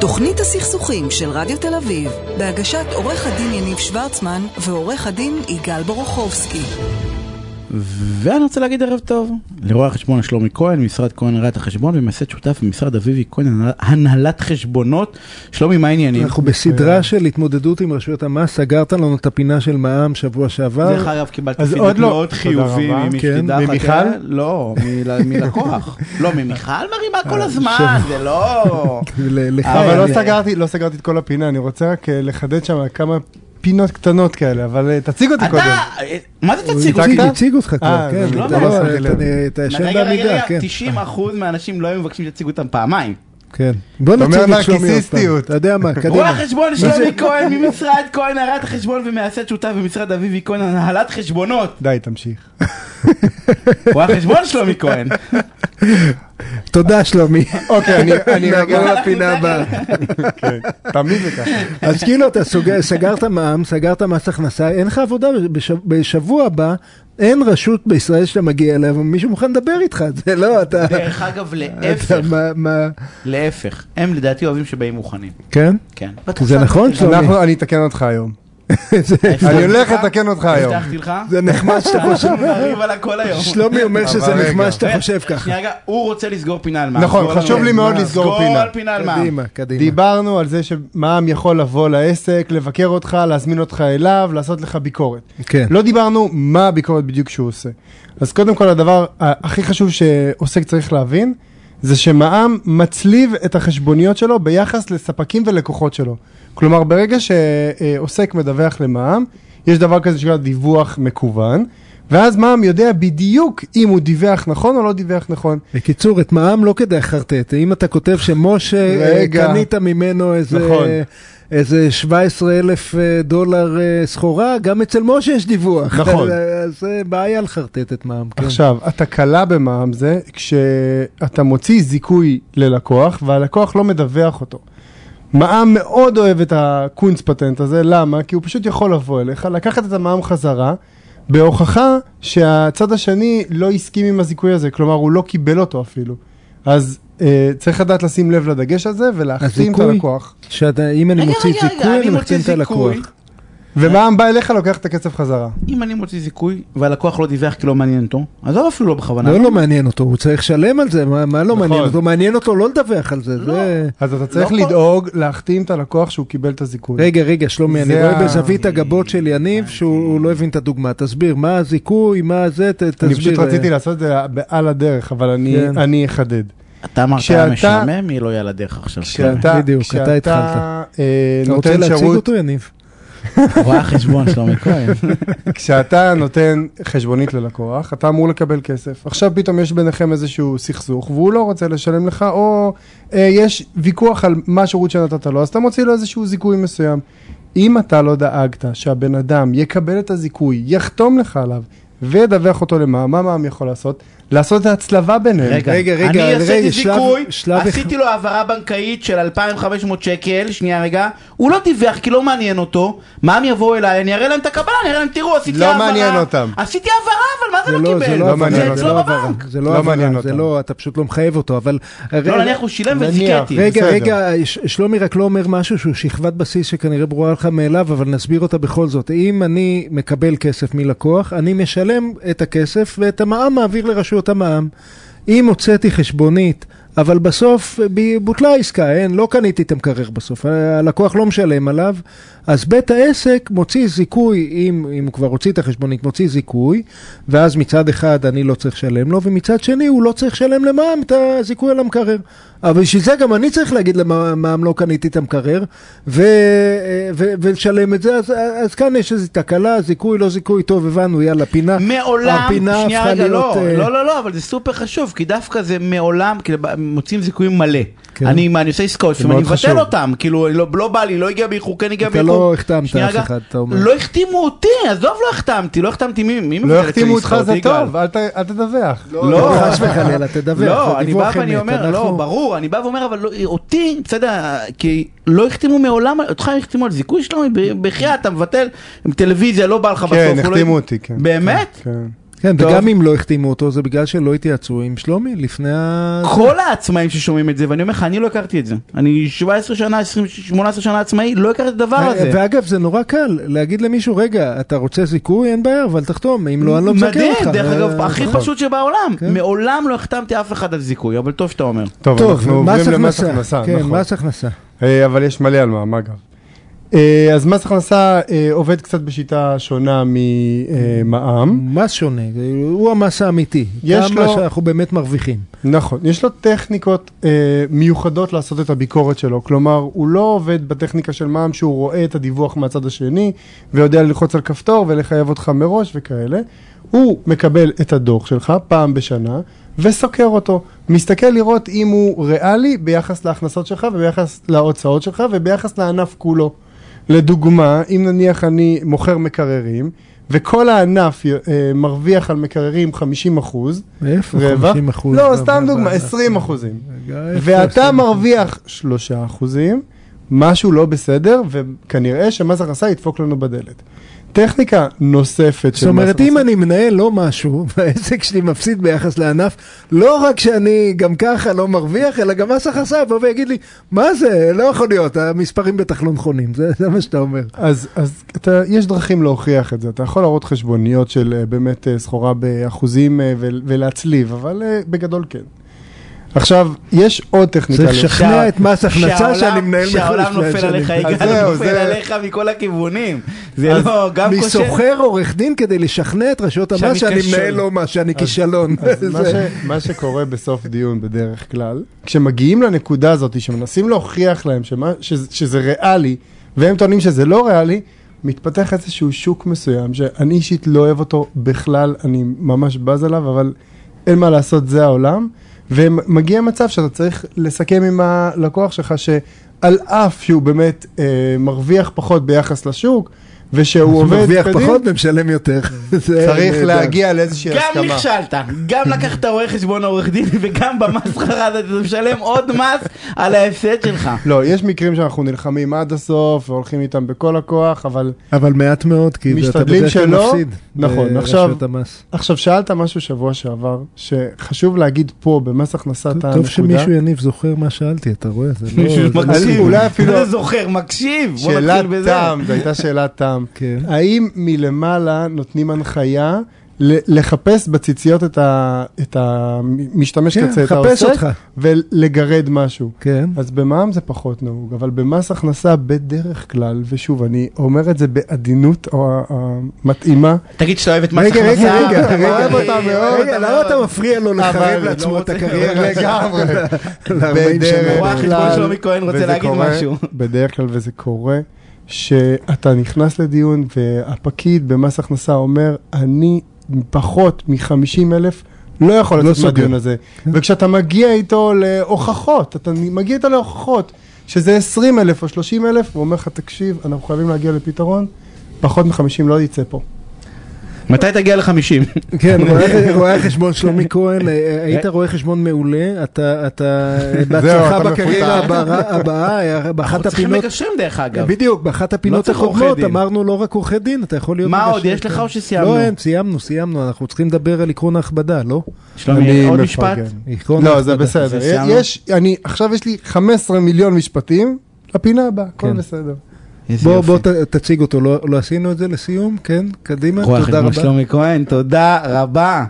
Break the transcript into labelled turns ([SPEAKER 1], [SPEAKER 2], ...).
[SPEAKER 1] תוכנית הסכסוכים של רדיו תל אביב, בהגשת עורך הדין יניב שוורצמן ועורך הדין יגאל בורוכובסקי.
[SPEAKER 2] ואני רוצה להגיד ערב טוב לרואה החשבון שלומי כהן, משרד כהן ראיית החשבון ומייסד שותף במשרד אביבי כהן הנהל- הנהלת חשבונות. שלומי, מה העניינים?
[SPEAKER 3] אנחנו
[SPEAKER 4] אה,
[SPEAKER 3] בסדרה של התמודדות עם רשויות המס, סגרת לנו את הפינה של מע"מ שבוע שעבר.
[SPEAKER 2] דרך אגב, קיבלתי
[SPEAKER 4] אז
[SPEAKER 2] פידבק
[SPEAKER 4] עוד לא.
[SPEAKER 2] מאוד
[SPEAKER 4] תודה
[SPEAKER 2] חיובי
[SPEAKER 4] רבה.
[SPEAKER 2] ממישהי
[SPEAKER 3] כן,
[SPEAKER 2] דחת.
[SPEAKER 3] ממיכל?
[SPEAKER 2] אה, לא, מל- מלקוח. לא, ממיכל מרימה כל הזמן, זה לא...
[SPEAKER 3] ל- לך
[SPEAKER 4] אבל
[SPEAKER 3] היה
[SPEAKER 4] לא
[SPEAKER 3] לי.
[SPEAKER 4] סגרתי, לא סגרתי את כל הפינה, אני רוצה רק אה, לחדד שם כמה פינות קטנות כאלה, אבל אה, תציג אותי קודם.
[SPEAKER 2] אתה, אה, מה זה תציג אותי?
[SPEAKER 3] הציג- הציג אותך כבר,
[SPEAKER 4] אה,
[SPEAKER 3] כן,
[SPEAKER 4] לא,
[SPEAKER 3] אתה
[SPEAKER 2] לא,
[SPEAKER 3] לא-
[SPEAKER 4] שמתי לב.
[SPEAKER 3] אתה- אתה ישן
[SPEAKER 2] רגע, רגע,
[SPEAKER 3] בעמידה,
[SPEAKER 2] רגע,
[SPEAKER 3] כן.
[SPEAKER 2] 90% מהאנשים לא היו מבקשים שיציגו אותם פעמיים.
[SPEAKER 3] כן. בוא
[SPEAKER 4] אתה אומר
[SPEAKER 3] נציג את שלומי עוד פעם.
[SPEAKER 4] נרקיסיסטיות.
[SPEAKER 3] אתה יודע מה,
[SPEAKER 2] רואה
[SPEAKER 3] קדימה.
[SPEAKER 2] החשבון שלומי כהן ממשרד כהן הנהלת החשבון ומייסד שותף במשרד אביבי כהן הנהלת חשבונות.
[SPEAKER 4] די, תמשיך.
[SPEAKER 2] רואה חשבון שלומי כהן.
[SPEAKER 3] תודה שלומי.
[SPEAKER 4] אוקיי, אני- אני
[SPEAKER 3] נעבור
[SPEAKER 4] רגע...
[SPEAKER 3] לפינה הבאה.
[SPEAKER 4] כן, תמיד זה ככה.
[SPEAKER 3] אז כאילו אתה סוגר, סגרת מע"מ, סגרת מס הכנסה, אין לך עבודה בשב, בשבוע הבא, אין רשות בישראל שאתה מגיע אליה ומישהו מוכן לדבר איתך, זה לא אתה...
[SPEAKER 2] דרך אגב,
[SPEAKER 3] אתה
[SPEAKER 2] להפך,
[SPEAKER 3] מה, מה...
[SPEAKER 2] להפך. הם לדעתי אוהבים שבאים מוכנים.
[SPEAKER 3] כן?
[SPEAKER 2] כן.
[SPEAKER 3] זה נכון שלומי?
[SPEAKER 4] אנחנו- אני אתקן אותך היום. אני הולך לתקן אותך היום.
[SPEAKER 2] הבטחתי לך.
[SPEAKER 3] זה נחמד שאתה חושב,
[SPEAKER 2] אנחנו נריב על הכל היום.
[SPEAKER 3] שלומי אומר שזה
[SPEAKER 4] אבל רגע.
[SPEAKER 3] נחמד שאתה
[SPEAKER 2] ו-
[SPEAKER 3] חושב ככה.
[SPEAKER 2] שנייה רגע, הוא רוצה לסגור פינה על מע"מ.
[SPEAKER 4] נכון,
[SPEAKER 2] סגור
[SPEAKER 4] חשוב
[SPEAKER 2] על
[SPEAKER 4] לי
[SPEAKER 2] מע"מ.
[SPEAKER 4] מאוד לסגור פינה.
[SPEAKER 2] סגור פינה על מע"מ.
[SPEAKER 3] קדימה, קדימה.
[SPEAKER 4] דיברנו על זה שמע"מ יכול לבוא לעסק, לבקר אותך, להזמין אותך אליו, לעשות לך ביקורת.
[SPEAKER 3] כן.
[SPEAKER 4] לא דיברנו מה הביקורת בדיוק שהוא עושה. אז קודם כל הדבר ה- הכי חשוב שעוסק צריך להבין, זה שמע"מ מצליב את החשבוניות שלו ביחס לספקים ולקוחות שלו. כלומר, ברגע שעוסק מדווח למע"מ, יש דבר כזה שנקרא דיווח מקוון, ואז מע"מ יודע בדיוק אם הוא דיווח נכון או לא דיווח נכון.
[SPEAKER 3] בקיצור, את מע"מ לא כדאי לחרטט. אם אתה כותב שמשה, אה,
[SPEAKER 4] רגע.
[SPEAKER 3] קנית ממנו איזה...
[SPEAKER 4] נכון.
[SPEAKER 3] איזה 17 אלף דולר אה, סחורה, גם אצל משה יש דיווח.
[SPEAKER 4] נכון.
[SPEAKER 3] אה, אז זה בעיה לחרטט את מע"מ, כן.
[SPEAKER 4] עכשיו, התקלה במע"מ זה כשאתה מוציא זיכוי ללקוח והלקוח לא מדווח אותו. מע"מ מאוד אוהב את הקונץ פטנט הזה, למה? כי הוא פשוט יכול לבוא אליך, לקחת את המע"מ חזרה, בהוכחה שהצד השני לא הסכים עם הזיכוי הזה, כלומר הוא לא קיבל אותו אפילו. אז אה, צריך לדעת לשים לב לדגש הזה ולהחתים את
[SPEAKER 3] הזיכוי? אה?
[SPEAKER 4] הלקוח.
[SPEAKER 3] שאתה, אם אני
[SPEAKER 2] רגע,
[SPEAKER 3] מוציא
[SPEAKER 2] רגע, רגע,
[SPEAKER 3] זיכוי, אני
[SPEAKER 2] מוציא
[SPEAKER 3] מחתים את
[SPEAKER 2] זיכוי.
[SPEAKER 3] הלקוח.
[SPEAKER 4] ומע"מ בא אליך, לוקח את הכסף חזרה.
[SPEAKER 2] אם אני מוציא זיכוי והלקוח לא דיווח כי לא מעניין אותו, עזוב אפילו לא בכוונה.
[SPEAKER 3] לא, לא מעניין אותו, הוא צריך לשלם על זה, מה מה
[SPEAKER 4] נכון.
[SPEAKER 3] לא מעניין אותו? מעניין אותו לא לדווח על זה, זה...
[SPEAKER 4] אז אתה צריך
[SPEAKER 2] כל-
[SPEAKER 4] לדאוג להחתים את הלקוח שהוא קיבל את הזיכוי.
[SPEAKER 3] לא רגע, רגע, שלומי, אני
[SPEAKER 4] זה
[SPEAKER 3] רואה
[SPEAKER 4] ה-
[SPEAKER 3] בזווית הגבות של יניב שהוא הוא לא הבין את הדוגמה. תסביר, מה הזיכוי, מה זה, ת- תסביר.
[SPEAKER 4] אני פשוט
[SPEAKER 3] אה,
[SPEAKER 4] רציתי לעשות את זה על הדרך, אבל אני-
[SPEAKER 3] כן.
[SPEAKER 4] אני אחדד.
[SPEAKER 2] אתה אמרת
[SPEAKER 4] כשאתה-
[SPEAKER 2] משעמם, היא לא יהיה על הדרך עכשיו.
[SPEAKER 4] כשאתה
[SPEAKER 3] בדיוק, אתה
[SPEAKER 4] כשאתה,
[SPEAKER 3] התחלת.
[SPEAKER 4] אה,
[SPEAKER 3] אתה רוצה
[SPEAKER 4] נותן
[SPEAKER 3] להציג
[SPEAKER 4] שירות,
[SPEAKER 3] אותו, יניב?
[SPEAKER 2] רואה חשבון שלומי כהן.
[SPEAKER 4] כשאתה נותן חשבונית ללקוח, אתה אמור לקבל כסף. עכשיו פתאום יש ביניכם איזשהו סכסוך, והוא לא רוצה לשלם לך, או אה, יש ויכוח על מה השירות שנתת לו, אז אתה מוציא לו איזשהו זיכוי מסוים. אם אתה לא דאגת שהבן אדם יקבל את הזיכוי, יחתום לך עליו, וידווח אותו למע"מ, מה מע"מ יכול לעשות? לעשות את ההצלבה ביניהם.
[SPEAKER 2] רגע,
[SPEAKER 3] כן. רגע, רגע,
[SPEAKER 2] אני עשיתי
[SPEAKER 3] רגע, שלב-
[SPEAKER 2] זיכוי,
[SPEAKER 3] שלב
[SPEAKER 2] עשיתי לו העברה בנקאית של 2,500 שקל, שנייה רגע, הוא לא דיווח כי לא מעניין אותו, מה הם יבואו אליי, אני אראה להם את הקבלה, אני אראה להם, תראו, עשיתי
[SPEAKER 4] לא
[SPEAKER 2] העברה.
[SPEAKER 4] מעניין אותם.
[SPEAKER 2] עשיתי העברה, אבל מה זה לא קיבל?
[SPEAKER 3] זה
[SPEAKER 4] לא מעניין
[SPEAKER 2] זה
[SPEAKER 4] אותם.
[SPEAKER 2] אצלו
[SPEAKER 3] עברה,
[SPEAKER 2] בבנק.
[SPEAKER 3] זה
[SPEAKER 4] לא
[SPEAKER 3] לא
[SPEAKER 4] מעניין
[SPEAKER 3] עברה, זה
[SPEAKER 4] אותם.
[SPEAKER 3] לא, אתה פשוט לא מחייב אותו, אבל...
[SPEAKER 2] לא, נניח הוא שילם
[SPEAKER 4] נניח,
[SPEAKER 2] וזיכיתי.
[SPEAKER 3] רגע,
[SPEAKER 4] בסדר.
[SPEAKER 3] רגע, ש- שלומי רק לא אומר משהו שהוא שכבת בסיס שכנראה ברורה לך מאליו, אבל נסביר אותה בכל זאת. אם אני מקבל כסף מלקוח, אני משלם את הכסף ואת המע"מ מעביר לרשויות המע"מ. אם הוצאתי חשבונית, אבל בסוף ב- בוטלה העסקה, אין, לא קניתי את המקרר בסוף, ה- הלקוח לא משלם עליו, אז בית העסק מוציא זיכוי, אם, אם הוא כבר הוציא את החשבונית, מוציא זיכוי, ואז מצד אחד אני לא צריך לשלם לו, ומצד שני הוא לא צריך לשלם למע"מ את הזיכוי על המקרר. אבל בשביל זה גם אני צריך להגיד למע"מ לא קניתי את המקרר, ו, ו, ולשלם את זה, אז, אז כאן יש איזו תקלה, זיכוי, לא זיכוי, טוב, הבנו, יאללה, פינה.
[SPEAKER 2] מעולם,
[SPEAKER 3] הפינה
[SPEAKER 2] שנייה
[SPEAKER 3] הפכה
[SPEAKER 2] רגע,
[SPEAKER 3] להיות,
[SPEAKER 2] לא,
[SPEAKER 3] אה,
[SPEAKER 2] לא, לא, לא, אבל זה סופר חשוב, כי דווקא זה מעולם, כאילו, ב- מוצאים זיכויים מלא.
[SPEAKER 3] כן.
[SPEAKER 2] אני, מה, אני עושה עסקאות, לפעמים
[SPEAKER 4] מאוד
[SPEAKER 2] אני מבטל
[SPEAKER 4] חשוב.
[SPEAKER 2] אותם, כאילו, אני לא, לא בא לי, לא הגיע באיחור, כן הגיע
[SPEAKER 3] אתה
[SPEAKER 2] באיחור.
[SPEAKER 3] לא החתמת
[SPEAKER 2] שנייה
[SPEAKER 3] אף
[SPEAKER 2] רגע,
[SPEAKER 3] אחד, אתה אומר.
[SPEAKER 2] לא החתימו אותי, עזוב, לא החתמתי, לא החתמתי מי, מי
[SPEAKER 4] לא
[SPEAKER 2] מבטל אצלי
[SPEAKER 4] יחתימו אותך
[SPEAKER 2] עסקאות,
[SPEAKER 4] זה
[SPEAKER 2] יגאל?
[SPEAKER 4] טוב, אל ת- אל תדווח.
[SPEAKER 2] לא.
[SPEAKER 3] חס וחלילה, תדווח. זה
[SPEAKER 2] לא, אני בא
[SPEAKER 3] דיווח
[SPEAKER 2] ואני
[SPEAKER 3] אמת,
[SPEAKER 2] אומר,
[SPEAKER 3] אנחנו-
[SPEAKER 2] לא, ברור, אני בא ואומר, אבל לא- אותי, בסדר, כי לא החתימו מעולם, אותך החתימו על זיכוי שלו, בחייאת, אתה מבטל, עם טלוויזיה, לא בא לך בסוף.
[SPEAKER 4] כן,
[SPEAKER 2] הוא לא-
[SPEAKER 4] החתימו אותי, כן.
[SPEAKER 2] באמת?
[SPEAKER 4] כן.
[SPEAKER 3] כן,
[SPEAKER 2] טוב.
[SPEAKER 3] וגם אם לא החתימו אותו, זה בגלל שלא התייעצו עם שלומי לפני ה...
[SPEAKER 2] כל העצמאים ששומעים את זה, ואני אומר לך, אני לא הכרתי את זה. אני 17 שנה, 20, 18 שנה עצמאי, לא הכרתי את הדבר
[SPEAKER 3] אה,
[SPEAKER 2] הזה.
[SPEAKER 3] ואגב, זה נורא קל להגיד למישהו, רגע, אתה רוצה זיכוי? אין בעיה, אבל תחתום, אם לא, אני לא מזכה
[SPEAKER 2] מדהים,
[SPEAKER 3] אותך.
[SPEAKER 2] דרך
[SPEAKER 3] אה,
[SPEAKER 2] אגב, הכי
[SPEAKER 3] נכון.
[SPEAKER 2] פשוט שבעולם.
[SPEAKER 3] כן.
[SPEAKER 2] מעולם לא החתמתי אף אחד על זיכוי, אבל טוב שאתה אומר.
[SPEAKER 4] טוב,
[SPEAKER 3] טוב,
[SPEAKER 4] אנחנו עוברים
[SPEAKER 3] מס
[SPEAKER 4] למס
[SPEAKER 3] הכנסה.
[SPEAKER 4] הכנסה,
[SPEAKER 3] כן,
[SPEAKER 4] נכון.
[SPEAKER 3] מס הכנסה.
[SPEAKER 4] אה, אבל יש מלא על מה, מה אגב. אה, אז מס הכנסה אה, עובד קצת בשיטה שונה אה, ממע"מ.
[SPEAKER 3] מס שונה, הוא המס האמיתי.
[SPEAKER 4] יש
[SPEAKER 3] כמה
[SPEAKER 4] לו-
[SPEAKER 3] שאנחנו באמת מרוויחים.
[SPEAKER 4] נכון, יש לו טכניקות אה, מיוחדות לעשות את הביקורת שלו, כלומר הוא לא עובד בטכניקה של מע"מ שהוא רואה את הדיווח מהצד השני ויודע ללחוץ על כפתור ולחייב אותך מראש וכאלה, הוא מקבל את הדוח שלך פעם בשנה וסוקר אותו, מסתכל לראות אם הוא ריאלי ביחס להכנסות שלך וביחס להוצאות שלך וביחס לענף כולו. לדוגמה, אם נניח אני מוכר מקררים וכל הענף אה, מרוויח על מקררים 50 אחוז,
[SPEAKER 3] איפה?
[SPEAKER 4] רווח?
[SPEAKER 3] 50 אחוז.
[SPEAKER 4] לא, סתם דוגמה, 20 אחוזים.
[SPEAKER 3] רגע, איפה
[SPEAKER 4] ואתה
[SPEAKER 3] 20%?
[SPEAKER 4] מרוויח 3 אחוזים, משהו לא בסדר, וכנראה שמס הכנסה ידפוק לנו בדלת. טכניקה נוספת
[SPEAKER 3] זאת
[SPEAKER 4] של מס הכנסה.
[SPEAKER 3] אומרת, אם אני מנהל לא משהו, והעסק שלי מפסיד ביחס לענף, לא רק שאני גם ככה לא מרוויח, אלא גם מס הכנסה יבוא ויגיד לי, מה זה, לא יכול להיות, המספרים בטח לא נכונים, זה זה מה שאתה אומר.
[SPEAKER 4] אז, אז אתה, יש דרכים להוכיח את זה, אתה יכול להראות חשבוניות של אה, באמת אה, סחורה באחוזים אה, ול- ולהצליב, אבל אה, בגדול כן. עכשיו, יש עוד טכניקה.
[SPEAKER 3] צריך
[SPEAKER 4] להוכיח-
[SPEAKER 3] לשכנע את מס הכנסה
[SPEAKER 2] שהעולם-
[SPEAKER 3] שאני מנהל
[SPEAKER 2] שהעולם
[SPEAKER 3] מחדש
[SPEAKER 2] נופל עליך,
[SPEAKER 3] שנים.
[SPEAKER 4] אז
[SPEAKER 2] יגאל
[SPEAKER 4] זהו,
[SPEAKER 2] נופל
[SPEAKER 4] זה-
[SPEAKER 2] עליך מכל הכיוונים. זה
[SPEAKER 4] אז
[SPEAKER 2] לא, גם
[SPEAKER 3] אני
[SPEAKER 2] קושר.
[SPEAKER 3] שוכר עורך דין כדי לשכנע את רשויות
[SPEAKER 2] שאני
[SPEAKER 3] המס שאני
[SPEAKER 2] כשל.
[SPEAKER 3] מנהל לא מס, שאני כישלון.
[SPEAKER 4] אז מה,
[SPEAKER 3] זה-
[SPEAKER 4] ש, מה שקורה בסוף דיון בדרך כלל, כשמגיעים לנקודה הזאת, שמנסים להוכיח להם שמה, שזה, שזה ריאלי, והם טוענים שזה לא ריאלי, מתפתח איזשהו שוק מסוים, שאני אישית לא אוהב אותו בכלל, אני ממש בז עליו, אבל אין מה לעשות, זה העולם. ומגיע מצב שאתה צריך לסכם עם הלקוח שלך שעל אף שהוא באמת אה, מרוויח פחות ביחס לשוק, ושהוא עובד
[SPEAKER 3] מרוויח
[SPEAKER 4] כדין,
[SPEAKER 3] פחות ומשלם יותר. זה
[SPEAKER 4] צריך
[SPEAKER 3] נהדר.
[SPEAKER 4] להגיע לאיזושהי הסכמה.
[SPEAKER 2] גם נכשלת, גם לקחת רואה חשבון עורך דין וגם במס חרד אתה משלם עוד מס על ההפסד שלך.
[SPEAKER 4] לא, יש מקרים שאנחנו נלחמים עד הסוף והולכים איתם בכל הכוח, אבל
[SPEAKER 3] אבל מעט מאוד, כי אתה
[SPEAKER 4] משתדלים
[SPEAKER 3] בדרך כלל
[SPEAKER 4] שלא.
[SPEAKER 3] מפסיד.
[SPEAKER 4] נכון,
[SPEAKER 3] ברשויות
[SPEAKER 4] עכשיו-
[SPEAKER 3] המס.
[SPEAKER 4] עכשיו שאלת משהו שבוע שעבר, שחשוב להגיד פה במס הכנסה את הנקודה.
[SPEAKER 3] טוב שמישהו יניב זוכר מה שאלתי, אתה רואה? זה לא...
[SPEAKER 2] מישהו
[SPEAKER 3] זה לא-
[SPEAKER 2] מקשיב.
[SPEAKER 4] אולי אפילו-
[SPEAKER 2] מה זה זוכר, מקשיב. בוא
[SPEAKER 4] שאלת
[SPEAKER 2] נתחיל בזה.
[SPEAKER 4] תם, זו הייתה שאלת תם.
[SPEAKER 3] כן.
[SPEAKER 4] האם מלמעלה נותנים הנחיה ל- לחפש בציציות את ה- את המשתמש
[SPEAKER 3] כן,
[SPEAKER 4] קצה, את
[SPEAKER 3] חפש
[SPEAKER 4] העוסק,
[SPEAKER 3] אותך.
[SPEAKER 4] ולגרד משהו?
[SPEAKER 3] כן.
[SPEAKER 4] אז במע"מ זה פחות נהוג, אבל במס הכנסה בדרך כלל, ושוב, אני אומר את זה בעדינות או- אה, המתאימה,
[SPEAKER 2] תגיד שאתה אוהב את מס הכנסה.
[SPEAKER 3] רגע, רגע, רגע,
[SPEAKER 4] אתה
[SPEAKER 3] רגע.
[SPEAKER 4] אוהב אותה מאוד,
[SPEAKER 3] רגע, למה אתה מפריע לו
[SPEAKER 4] אבל-
[SPEAKER 3] לחרב לעצמו
[SPEAKER 2] לא
[SPEAKER 3] את
[SPEAKER 2] רוצה-
[SPEAKER 3] הקריירה?
[SPEAKER 4] לגמרי.
[SPEAKER 3] ל-40
[SPEAKER 4] בדרך
[SPEAKER 2] רואה
[SPEAKER 3] שנה.
[SPEAKER 2] החשבון
[SPEAKER 4] כלל,
[SPEAKER 2] שלומי כהן רוצה
[SPEAKER 4] וזה
[SPEAKER 2] להגיד
[SPEAKER 4] קורה-
[SPEAKER 2] משהו.
[SPEAKER 4] בדרך כלל, וזה קורה, שאתה נכנס לדיון והפקיד במס הכנסה אומר, אני פחות מ-50 אלף לא יכול
[SPEAKER 3] לא
[SPEAKER 4] לצאת
[SPEAKER 3] סוגר. כן.
[SPEAKER 4] מהדיון הזה. וכשאתה מגיע איתו להוכחות, אתה מגיע איתו להוכחות, שזה 20 אלף או 30 אלף, הוא אומר לך, תקשיב, אנחנו חייבים להגיע לפתרון, פחות מ-50 לא יצא פה.
[SPEAKER 2] מתי תגיע לחמישים?
[SPEAKER 3] כן, רואה- רואה חשבון שלומי כהן, אה, היית רואה חשבון מעולה, אתה אתה- בהצלחה
[SPEAKER 4] אתה
[SPEAKER 3] בקריירה
[SPEAKER 4] מפוטר.
[SPEAKER 3] הבאה- הבאה, היה באחת
[SPEAKER 2] אנחנו צריכים
[SPEAKER 3] הפינות...
[SPEAKER 2] מגשרים דרך אגב.
[SPEAKER 3] בדיוק, באחת הפינות
[SPEAKER 2] צריך עורכי
[SPEAKER 3] הקודמות
[SPEAKER 2] דין.
[SPEAKER 3] אמרנו לא רק עורכי דין, אתה יכול להיות...
[SPEAKER 2] מה
[SPEAKER 3] מגשר,
[SPEAKER 2] עוד, יש
[SPEAKER 3] כן.
[SPEAKER 2] לך או שסיימנו?
[SPEAKER 3] לא, אין, סיימנו, סיימנו, אנחנו צריכים לדבר על עקרון ההכבדה, לא?
[SPEAKER 2] שלומי,
[SPEAKER 4] אני
[SPEAKER 2] עוד משפט?
[SPEAKER 4] מפרגן.
[SPEAKER 3] עקרון
[SPEAKER 4] לא,
[SPEAKER 3] ההכבדה.
[SPEAKER 4] זה בסדר.
[SPEAKER 2] זה סיימנו?
[SPEAKER 4] יש, אני, עכשיו יש לי 15 מיליון משפטים לפינה הבאה, הכל
[SPEAKER 3] כן.
[SPEAKER 4] בסדר.
[SPEAKER 2] איזה
[SPEAKER 3] בוא,
[SPEAKER 2] יופי.
[SPEAKER 3] בוא ת, תציג אותו, לא, לא עשינו את זה לסיום, כן, קדימה,
[SPEAKER 2] רואה
[SPEAKER 3] תודה
[SPEAKER 2] חשבון
[SPEAKER 3] רבה.
[SPEAKER 2] שלומי כהן, תודה רבה.